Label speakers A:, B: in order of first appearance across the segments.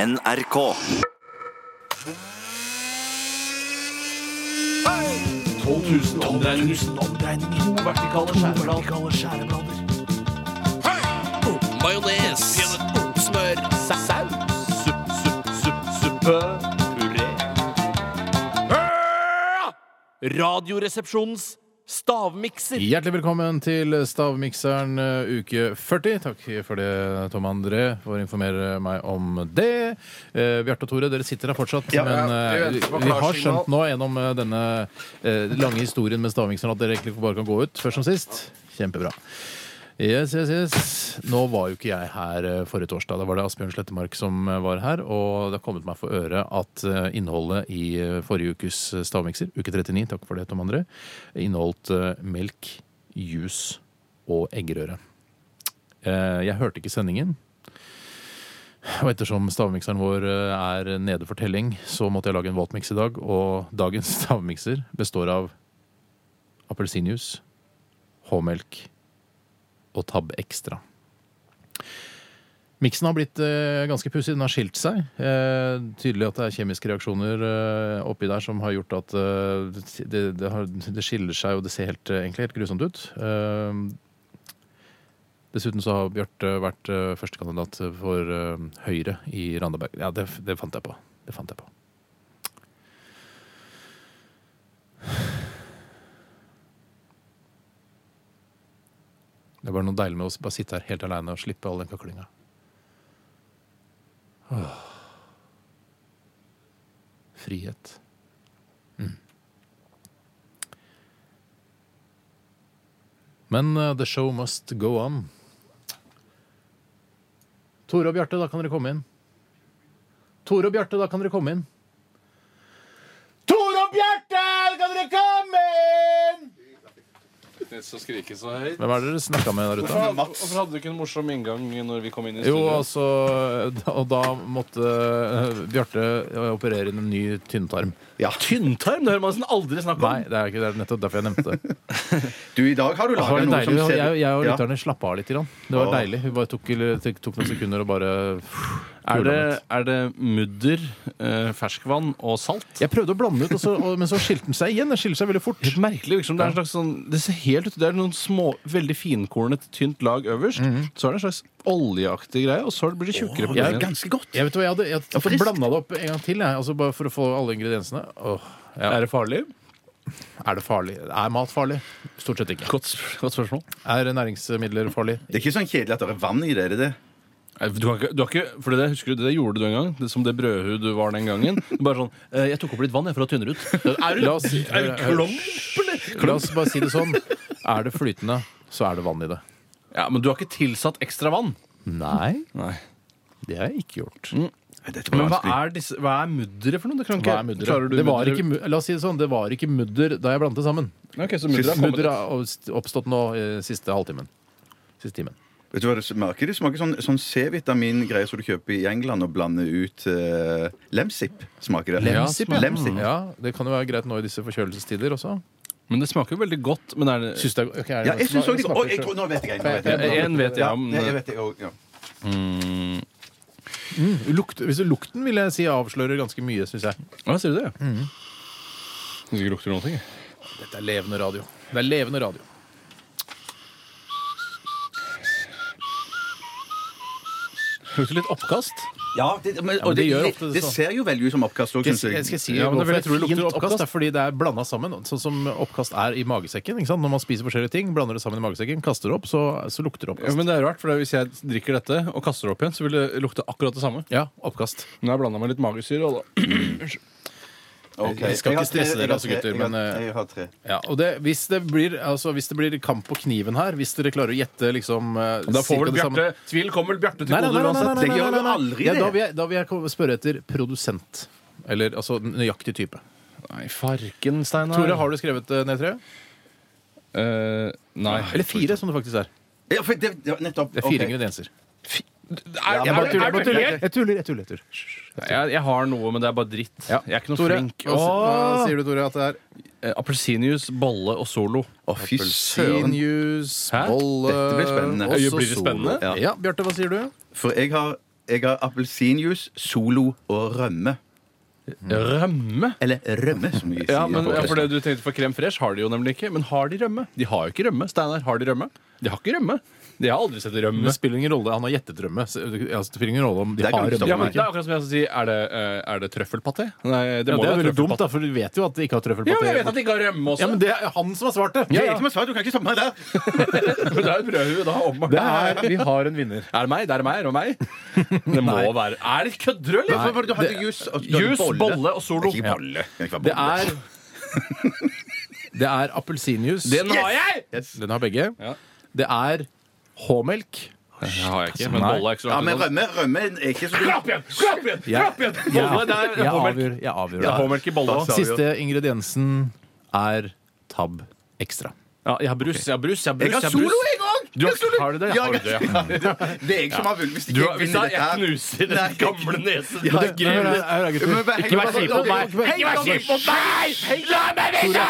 A: NRK.
B: Majones. Smør. Saus. Supp, supp, supp, suppe. Puré. Radioresepsjonens stavmikser.
C: Hjertelig velkommen til Stavmikseren eh, uke 40. Takk for det, Tom André, for å informere meg om det. Eh, Bjarte og Tore, dere sitter her fortsatt,
D: Ja,
C: men
D: ja, vi
C: eh, vi,
D: venter på
C: vi har
D: klarsignal.
C: skjønt nå gjennom eh, denne eh, lange historien med Stavmikseren at dere egentlig bare kan gå ut først som sist. Kjempebra. Yes, yes, yes. Nå var jo ikke jeg her eh, forrige torsdag. Da var det Asbjørn Slettemark som eh, var her. Og det har kommet meg for øre at eh, innholdet i eh, forrige ukes eh, stavmikser, uke 39, takk for det, Tom André, inneholdt eh, melk, juice og eggerøre. Eh, Jeg hørte ikke sendingen. Og ettersom stavmikseren vår eh, er nede for telling, så måtte jeg lage en våtmiks i dag. Og dagens stavmikser består av appelsinjuice, H-melk og Tab Extra. Miksen har blitt eh, ganske pussig. Den har skilt seg. Eh, tydelig at det er kjemiske reaksjoner eh, oppi der som har gjort at eh, det, det, har, det skiller seg, og det ser helt, eh, egentlig helt grusomt ut. Eh, dessuten så har Bjarte vært eh, førstekandidat for eh, Høyre i Randaberg. Ja, det, det fant jeg på. Det fant jeg på. Det er bare noe deilig med å s- bare sitte her helt aleine og slippe all den kaklinga. Åh. Frihet. Mm. Men eh, the show must go on. Tore og Bjarte, da kan dere komme inn. Tore og Bjarte, da kan dere komme inn. Tore og Bjarte, kan dere komme inn!
E: Det skal skrike så høyt.
C: Hvem er det dere snakka med der ute?
E: Hvorfor, hvorfor hadde du ikke en morsom inngang når vi kom inn i
C: Jo,
E: studio?
C: altså da- Og da måtte eh, Bjarte eh, operere inn en ny tynntarm.
D: Ja.
E: Tynntarm! Det hører man nesten aldri snakke
C: Nei, det er ikke det er nettopp derfor jeg nevnte det.
D: Du, i dag har du
C: det var
D: laga
C: litt
D: noe som
C: deilig,
D: ser
C: jeg, jeg og
D: Ja.
C: lytterne slappa av litt. Grann. Det var
D: Ja.
C: deilig. Vi bare tok, det tok noen sekunder og bare
E: Er det, er det mudder, eh, ferskvann og salt?
C: Jeg prøvde å blande ut, og så, og, men så skilte den seg igjen. Den skiller seg veldig fort.
E: Helt merkelig. Liksom. Det, er en slags sånn, det ser helt ut Det er noen små, veldig finkornet, tynt lag øverst. Så er det en slags oljeaktig greie, og så blir det tjukkere. på
D: Det er
E: bunnen.
D: ganske godt.
C: Jeg vet hva, jeg hadde, jeg hadde
D: friskt.
C: blanda det opp en gang til, jeg, altså bare for å få alle ingrediensene. Åh, ja.
E: Er det farlig?
C: Er det farlig? Er mat farlig? Stort sett ikke.
E: Godt, sp- godt spørsmål.
C: Er næringsmidler farlig?
D: Det er ikke sånn kjedelig at det er vann i det. er det det?
E: Nei, Eh, Du har ikke, du har ikke, for det, husker du, det gjorde du en gang, det, som det brødhuet du var den gangen. Du bare sånn eh, 'Jeg tok opp litt vann, jeg, for å tynne det ut'. Er du,
C: La oss-
E: er du klump, eller?
C: La oss bare si det sånn. Er det flytende, så er det vann i det.
E: Ja, Men du har ikke tilsatt ekstra vann?
C: Nei,
E: Nei.
C: det har jeg ikke gjort.
D: Nei, dette var
E: Men hva
D: vanskelig.
E: er, disse, hva er mudderet for noe? Det kan ikke,
C: Hva er mudder?
E: klarer du
C: Det var
E: mudder-
C: ikke, mu- la oss si det sånn, det var ikke mudder da jeg blandet det sammen.
E: Ok, så mudder har kommet.
C: Mudder har oppst- oppstått nå eh, siste halvtimen. Siste timen.
D: Vet du hva det smaker? Det smaker sånn, sånn C-vitamin-greier som du kjøper i England og blander ut eh, Lemsip. smaker det.
C: Lemsip,
D: ja.
C: ja. Mm, Ja, det kan jo være greit nå i disse forkjølelsestider også.
E: Men det smaker jo veldig godt. Men er det,
C: Syns det er- ok, er det
D: Ja,
C: noe
D: jeg
C: som
D: syns òg
C: smaker
D: det. Å, jeg
C: selv?
D: tror- nå vet jeg. Nå vet
C: Jeg-
D: jeg.
C: jeg-
E: en vet jeg
D: Ja,
E: om.
D: jeg vet jeg også, ja.
C: Lukt, hvis det lukten vil jeg si avslører ganske mye, syns jeg.
E: Hva sier du det? Mm. Ikke lukter noen ting.
C: Dette er levende radio. Det er levende radio.
E: Lukter litt oppkast.
D: Ja, det,
C: men
D: men, og
C: det
D: det,
C: gjør
D: det,
C: ofte det
D: det
C: sånn.
D: ser jo veldig ut som oppkast òg,
C: Jeg,
D: syns
C: jeg skal
D: jeg.
C: si
E: Ja, men det er
C: hvorfor
E: fordi jeg tror det
C: fint
E: lukter oppkast.
C: oppkast. Det er fordi det er blanda sammen. Sånn som oppkast er i magesekken. Ikke sant? Når man spiser forskjellige ting, blander det sammen i magesekken, kaster det opp, så, så lukter det
E: Ja,
C: oppkast.
E: men det er rart, for Hvis jeg drikker dette og kaster det opp igjen, så vil det lukte akkurat det samme.
C: Ja, oppkast.
E: Men jeg har blanda med litt magesyre. og da-
D: Ok.
C: Vi skal
D: Jeg har
C: ikke stresse
D: tre-
C: dere, altså,
D: jeg har tre-
C: gutter, men,
D: jeg har-
C: eh,
D: Jeg har tre.
C: Ja, og det, hvis, det blir, altså, hvis det blir kamp på kniven her, hvis dere klarer å gjette liksom eh,
E: Da får
C: cirka
E: vel
C: det samme-
E: Bjarte Tvil kommer vel Bjarte til
C: Nei, nei,
E: gode
C: nei, nei, nei,
E: uansett.
C: nei,
D: Det
C: nei,
D: gjør
C: nei,
D: jo aldri
C: Ja, da,
D: det.
C: vil jeg, da vil jeg komme- spørre etter produsent. Eller altså nøyaktig type.
E: Nei, farken, Steinar.
C: Tore, har du skrevet eh, ned tre?
E: Eh, nei.
C: Ah, Eller fire, som det faktisk er.
D: Ja, for det, ja, nettopp.
C: Det er fire
D: Ok.
C: ingredienser.
E: Er,
D: Jeg bare
E: er-
D: tuller,
E: er-
D: jeg bare
E: er-
D: tuller.
C: Jeg tuller, jeg tuller. Jeg tuller. Hysj.
E: Nei, Jeg, jeg har noe, men det er bare dritt.
C: Ja.
E: Jeg er ikke noe
C: Tore,
E: flink.
C: hva hva
E: Åh!
C: sier du, Tore, at det er?
E: Eh, Appelsinjuice, bolle og Solo.
D: Å, fy søren.
C: Appelsinjuice,
E: Hæ?
C: bolle
D: Dette blir spennende.
C: også
E: Øye, blir det
C: solo.
E: spennende?
C: Ja, Bjarte, hva sier du?
D: For jeg har jeg har appelsinjuice, Solo og rømme.
E: Rømme?
D: Eller rømme, som vi sier.
E: Mm. Ja, men
D: på
E: ja, for det
D: Vestlandet.
E: du tenkte på Krem Fresh har de jo nemlig ikke. Men har de rømme? De har jo ikke rømme. Steinar, har de rømme? De har ikke rømme. De har aldri sett
C: Men
E: rømme.
C: det spiller ingen rolle. Han har gjettet rømme. Så, ja, så det spiller ingen rolle om de
D: Det
C: har
D: kan
C: rømme
D: du stoppe
E: Ja,
C: eller
E: men
D: meg.
E: det
C: ikke.
E: er akkurat som jeg skal si Er det, eh, er det trøffelpaté? Nei, det
C: Ja,
E: må
C: det er veldig
E: være
C: dumt,
E: trøffelpaté.
C: da, for du vet jo at de ikke har trøffelpaté.
E: Ja, men jeg vet at de ikke har rømme også.
C: Ja, men det er han som har svart det!
D: Det er jeg som har svart, du kan ikke stoppe meg der!
E: Men det er jo brødhue, da. Om.
C: Det er, vi har en vinner.
E: Er det meg? Det er meg. Er det meg? Det må være Er det kødder, eller?
D: For, for du hadde jus og du hadde
E: Jus, bolle og Solo.
D: Ikke bolle. Det kan
C: Det
D: ikke være bolle.
C: er Det er appelsinjuice.
E: Den har jeg!
D: Yes.
C: Den har begge.
E: Ja.
C: Det er H-melk.
E: Det har jeg ikke, men
C: Nei.
E: bolle er ikke så
D: Ja, men
E: langt unna.
D: rømme, rømme er ikke så
E: Klapp igjen! Klapp igjen! Klapp igjen! Bolle, det er
C: jeg
E: påmelk.
C: avgjør, jeg avgjør
E: Det er
C: det.
E: påmelk i bolle også.
C: Siste ingrediensen er Tab Extra.
E: Ja, jeg har brus, jeg har brus, jeg har brus.
D: Jeg har
E: brus.
D: Solo, jeg òg!
E: Du har, har du det? Jeg
D: Ja,
E: har
D: jeg-
E: det, ja.
D: Det er jeg som har vunnet hvis
E: Du
D: ikke
E: har,
D: jeg
E: hvis
D: vinner
E: jeg,
D: dette
E: jeg
D: her.
E: knuser
D: Nei.
E: den gamle nesen din.
D: Ja,
E: Ikke
C: Hør her, her er gutter.
D: Men vær-
E: ikke vær snill mot meg!
C: Ikke
E: Ikke vær snill mot meg! La meg vinne!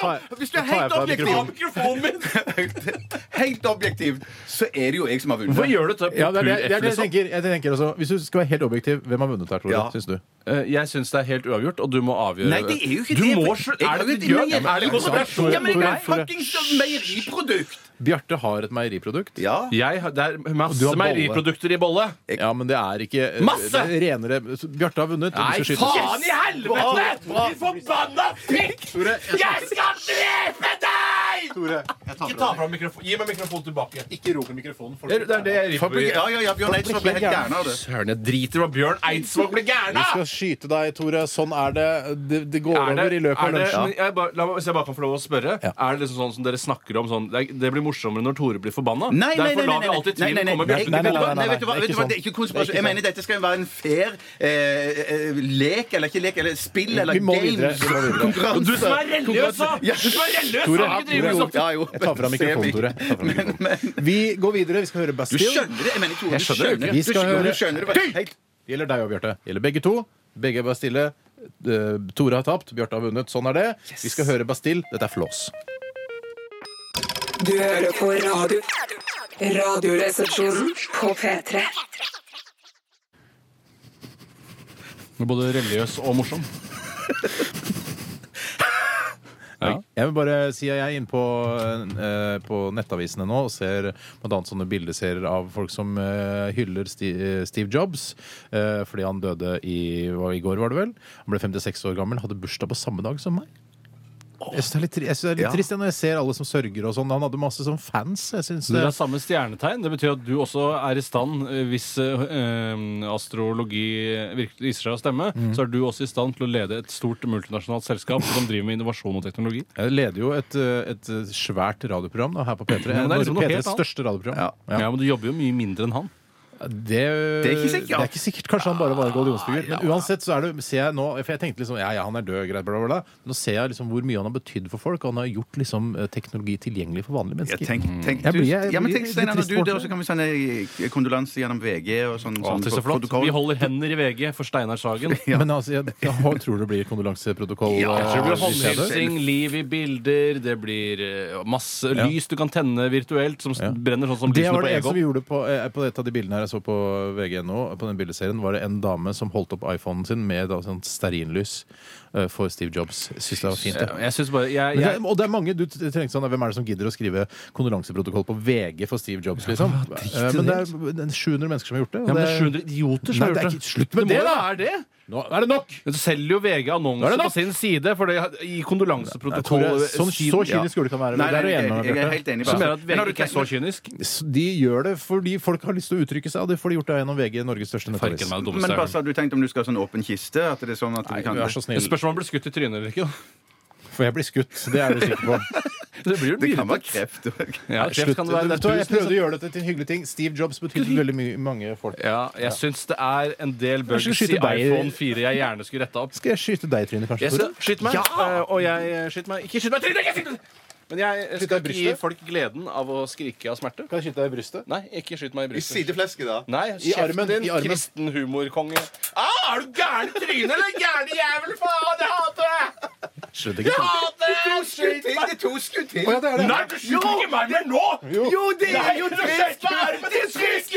C: Ta-
D: Hvis du
C: ta
D: er
C: jeg
D: helt
C: fra
D: objektiv,
C: mikrofonen.
E: Mikrofonen min!
D: helt objektiv, så er det jo jeg som har vunnet.
E: Hvorfor gjør du det?
C: Ja, det er det, det, er det jeg tenker.
E: liksom.
C: Jeg tenker også, hvis du skal være helt objektiv, hvem har vunnet her, tror du?
D: Ja.
C: Synes du?
E: Eh, Jeg syns det er helt uavgjort, og du må avgjøre
D: Nei, det er jo ikke
E: du
D: det.
E: Må,
D: for-
E: sl-
D: Jeg
E: er
D: har
E: det
D: jo
E: et
D: et
E: gjørt?
D: meieri-
E: Er det konsentrasjon?
D: Ja, men jeg
C: Tore,
D: har
C: Tore.
D: fuckings meieriprodukt!
C: Bjarte har et meieriprodukt.
D: Ja.
E: Jeg, har- det er
C: Du har
E: masse
C: bolle.
E: meieriprodukter i bolle.
C: Ja, men det er ikke
E: Masse!
C: det er renere så Bjarte har vunnet. og du skal skyte.
E: i helvete! Din forbanna pikk! Jeg skal drepe deg! Ikke ta fram mikrofonen. Gi meg mikrofonen tilbake. Ikke rop i mikrofonen. Det er det jeg river i.
D: Ja, ja, ja, Bjørn Eidsvåg ble helt gæren av det.
E: Søren, jeg driter i hva Bjørn Eidsvåg blir gæren
C: Jeg
E: av!
C: skal skyte deg, Tore. Sånn er det. Det, det går
E: Er det,
C: over i løpet
E: er
C: av
E: det,
C: lunsjen.
E: men jeg bare, la meg, hvis jeg bare kan få lov å spørre
C: Ja.
E: Er det liksom sånn som dere snakker om sånn, det, er- det blir morsommere når Tore blir forbanna?
D: Nei, nei, nei,
E: Derfor
D: nei,
E: lar vi
D: nei,
E: alltid
D: nei, nei,
E: tvilen
D: nei,
E: komme
D: nei,
E: bjørken
D: nei,
E: til
D: vet du
E: bolle.
D: hva, nei, vet du hva, vet du hva, det er ikke konspirasjon. Jeg mener dette skal være en fair eh, eh, lek, eller ikke lek, eller spill, eller
C: Vi må
D: game.
C: videre, vi må videre.
D: Konkurranse.
E: Du som er religiøs, da!
D: Ja.
E: Du som er religiøs,
C: Tore,
E: da! Ikke driver med
C: Tore,
E: sånt.
D: Ja, jo.
C: Jeg tar fram mikrofonen, Tore. Jeg tar fram
D: Men, men,
C: Vi går videre. Vi skal høre
D: du
C: Bastille.
D: skjønner det? Jeg mener, Tore,
E: Jeg
D: du
E: skjønner det
D: skjønner
E: ikke.
D: det.
C: Vi skal
D: Du skjønner-
C: høre-
D: Du skjelner det bare helt.
C: Gjelder deg og Bjarte. Gjelder begge to. Begge er Bastille. Eh, Tore har tapt, Bjarte har vunnet. Sånn er det. Vi skal høre Bastille. Dette er flås.
A: Du hører på radio. Radioresepsjonen på P3.
E: Både religiøs og morsom.
C: Jeg vil bare si at jeg er inne på, eh, på nettavisene nå og ser bl.a. sånne bildeserier av folk som eh, hyller Sti eh, Steve Jobs eh, fordi han døde i, hva, i går, var det vel? Han ble 56 år gammel, hadde bursdag på samme dag som meg. Jeg syns det er litt, tri jeg synes det er litt
D: Ja.
C: trist jeg, når jeg ser alle som sørger og sånn. Han hadde masse sånn fans. Jeg synes det
E: Dere har samme stjernetegn. Det betyr at du også er i stand, eh, hvis eh, eh, astrologi virkelig viser seg å stemme,
C: Mm.
E: så er du også i stand til å lede et stort multinasjonalt selskap som driver med innovasjon og teknologi.
C: Jeg leder jo et, eh, et eh, svært radioprogram da, her på P3.
E: Ja, men det er liksom noe
C: Norge-
E: helt
C: P3s
E: annet.
C: største radioprogram.
E: Ja. Men du jobber jo mye mindre enn han.
C: Det,
D: Det er ikke sikkert, ja.
C: det er ikke sikkert. Kanskje han bare var en gallionsfigur. Men uansett så er det, ser jeg nå For jeg tenkte liksom ja, ja, han er død, greit, bla, bla, bla. Nå ser jeg liksom hvor mye han har betydd for folk. Og han har gjort liksom eh, teknologi tilgjengelig for vanlige
D: Ja,
C: mennesker. Mm.
D: tenk, tenk,
C: Jeg
D: du,
C: blir- jeg
D: ja, men
C: blir
D: tenk
C: litt
D: Steinar, når
C: trist
D: du
C: bort.
D: dør, så kan vi sende kondolanse gjennom VG og sånn. sånn
E: Alltid så flott.
D: protokoll.
E: Vi holder hender i VG for Steinar Sagen.
C: Men altså, jeg, jeg, har- tror det blir kondolanseprotokoll.
D: Ja,
C: eh,
D: jeg tror det blir
C: hvis jeg dør.
E: Håndhilsing, liv i bilder, det blir eh, masse lys du kan tenne virtuelt som s- brenner sånn som
C: Det
E: lysene
C: var
E: på
C: det eneste
E: Egon.
C: vi gjorde på, eh, på et av de bildene her jeg så på vg.no. På den bildeserien var det en dame som holdt opp iPhonen sin med da, sånn stearinlys eh, for Steve Jobs. Syns det var fint.
E: Ja,
C: Ja.
E: Jeg synes bare jeg,
C: Men det,
E: jeg,
C: er- og det er mange du t- trengte sånn Hvem er det som gidder å skrive kondolanseprotokoll på VG for Steve Jobs, liksom? Eh, men det er det er 700 mennesker som har gjort det. og
E: ja, men
C: det
E: det er
C: er-
E: 700 idioter som
C: Nei,
E: har
C: det er
E: gjort det.
C: ikke- slutt med
E: det,
C: det,
E: må jo
C: da!
E: være det!
C: Nå er det nok!
E: Men Så selger jo VG
C: Er det
E: annonser
C: nok?
E: på sin side, for det, i kondolanseprotokoll
C: Tore, sånn ky- så kynisk skole kan være.
D: Nei, nei,
C: Der er jeg
D: jeg,
C: enig med deg,
D: jeg er
C: Bjarte.
D: helt
E: Så
D: enig. bare.
E: mener at
D: Men har
E: VG
D: du
E: ikke er så
D: tenkt-
E: kynisk.
C: S- De gjør det fordi folk har lyst til å uttrykke seg, og det får de gjort da gjennom VG, Norges største nettavis.
E: Farken meg det
D: Men
E: dummeste jeg
D: Basse,
E: har hørt.
D: har du tenkt om du skal ha sånn åpen kiste? At det er sånn at vi kan
C: Vær så
E: Det
C: snill,
E: spørs om han blir skutt i trynet eller ikke. da.
C: for jeg blir skutt. Det er du sikker på.
E: Det blir jo
D: Det kan
E: myrete.
D: være kreft òg.
E: Ja, kreft
C: Slutt.
E: kan det
C: Vet
E: være. Det
C: du hva,
E: er
C: Jeg
E: tusen-
C: prøvde å gjøre dette til en hyggelig ting. Steve Jobs betydde veldig mye, mange folk.
E: Ja, jeg syns det er en del bugs
C: skal
E: i
C: skyte deg i-
E: iPhone 4 jeg gjerne skulle retta opp.
C: Skal jeg skyte deg i trynet, kanskje?
E: Jeg
C: Tore?
E: skal skyte meg, eh, og jeg eh, skyter meg. Ikke skyt meg i trynet! ikke skyt meg! Men jeg
C: deg i
E: skal ikke gi
C: brystet?
E: folk gleden av å skrike av smerte.
C: Kan jeg skyte deg i brystet?
E: Nei, ikke skyt meg i brystet.
D: Sideflesket, da.
E: Nei,
C: I
E: kjeften
C: armen,
E: din,
C: i armen.
E: kristen humorkonge. Ah, er du gæren i trynet, eller gæren jævel? Faen, jeg hater deg!
C: Slutt ikke.
D: To skudd til! Det er to skudd til!
C: Å, ja, det er det.
B: Nei, du skyter ikke meg mer nå!
D: Jo, det er jo
B: Nei,
D: tre
B: hva er det med din
D: skudd!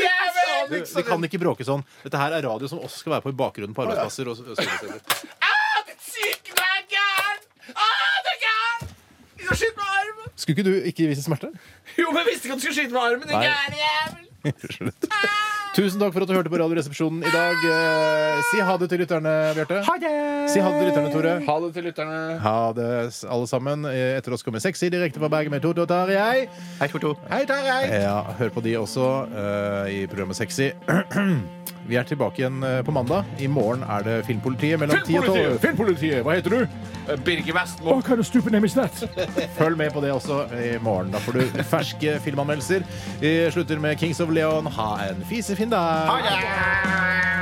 C: Du, vi kan ikke bråke sånn. Dette her er radio som også skal være på i bakgrunnen på arbeidsplasser. Og, og skolesteder.
B: Ah, Syk, du er gæren! Ah, du er gæren! Du skal skyte med armen!
C: Skulle ikke du ikke vise smerte?
B: Jo, men jeg visste ikke at du skulle skyte med armen, din
C: Nei.
B: gæren jævel! Ah.
C: Slutt. Tusen takk for at du hørte på Radioresepsjonen i dag. Eh, Si ha det til lytterne, Bjarte. Si ha det til lytterne, Tore.
B: Ha det til lytterne.
C: Ha det, s- alle sammen. Eh, Etter oss kommer Sexy direkte fra Bergen med Toto og Tarjei.
D: Hei, Toto.
C: Hei, Tarjei. Ja, hør på de også eh, i programmet Sexy. Vi er tilbake igjen eh, på mandag. I morgen er det Filmpolitiet mellom 10 og 12.
B: Filmpolitiet!
C: Filmpolitiet! Hva heter du?
B: Eh, Birger Vestmo.
C: kind of stupid name is that? Følg med på det også i morgen. Da får du ferske filmanmeldelser. Vi slutter med Kings of Leon. Ha en fisefin dag!
B: Yeah.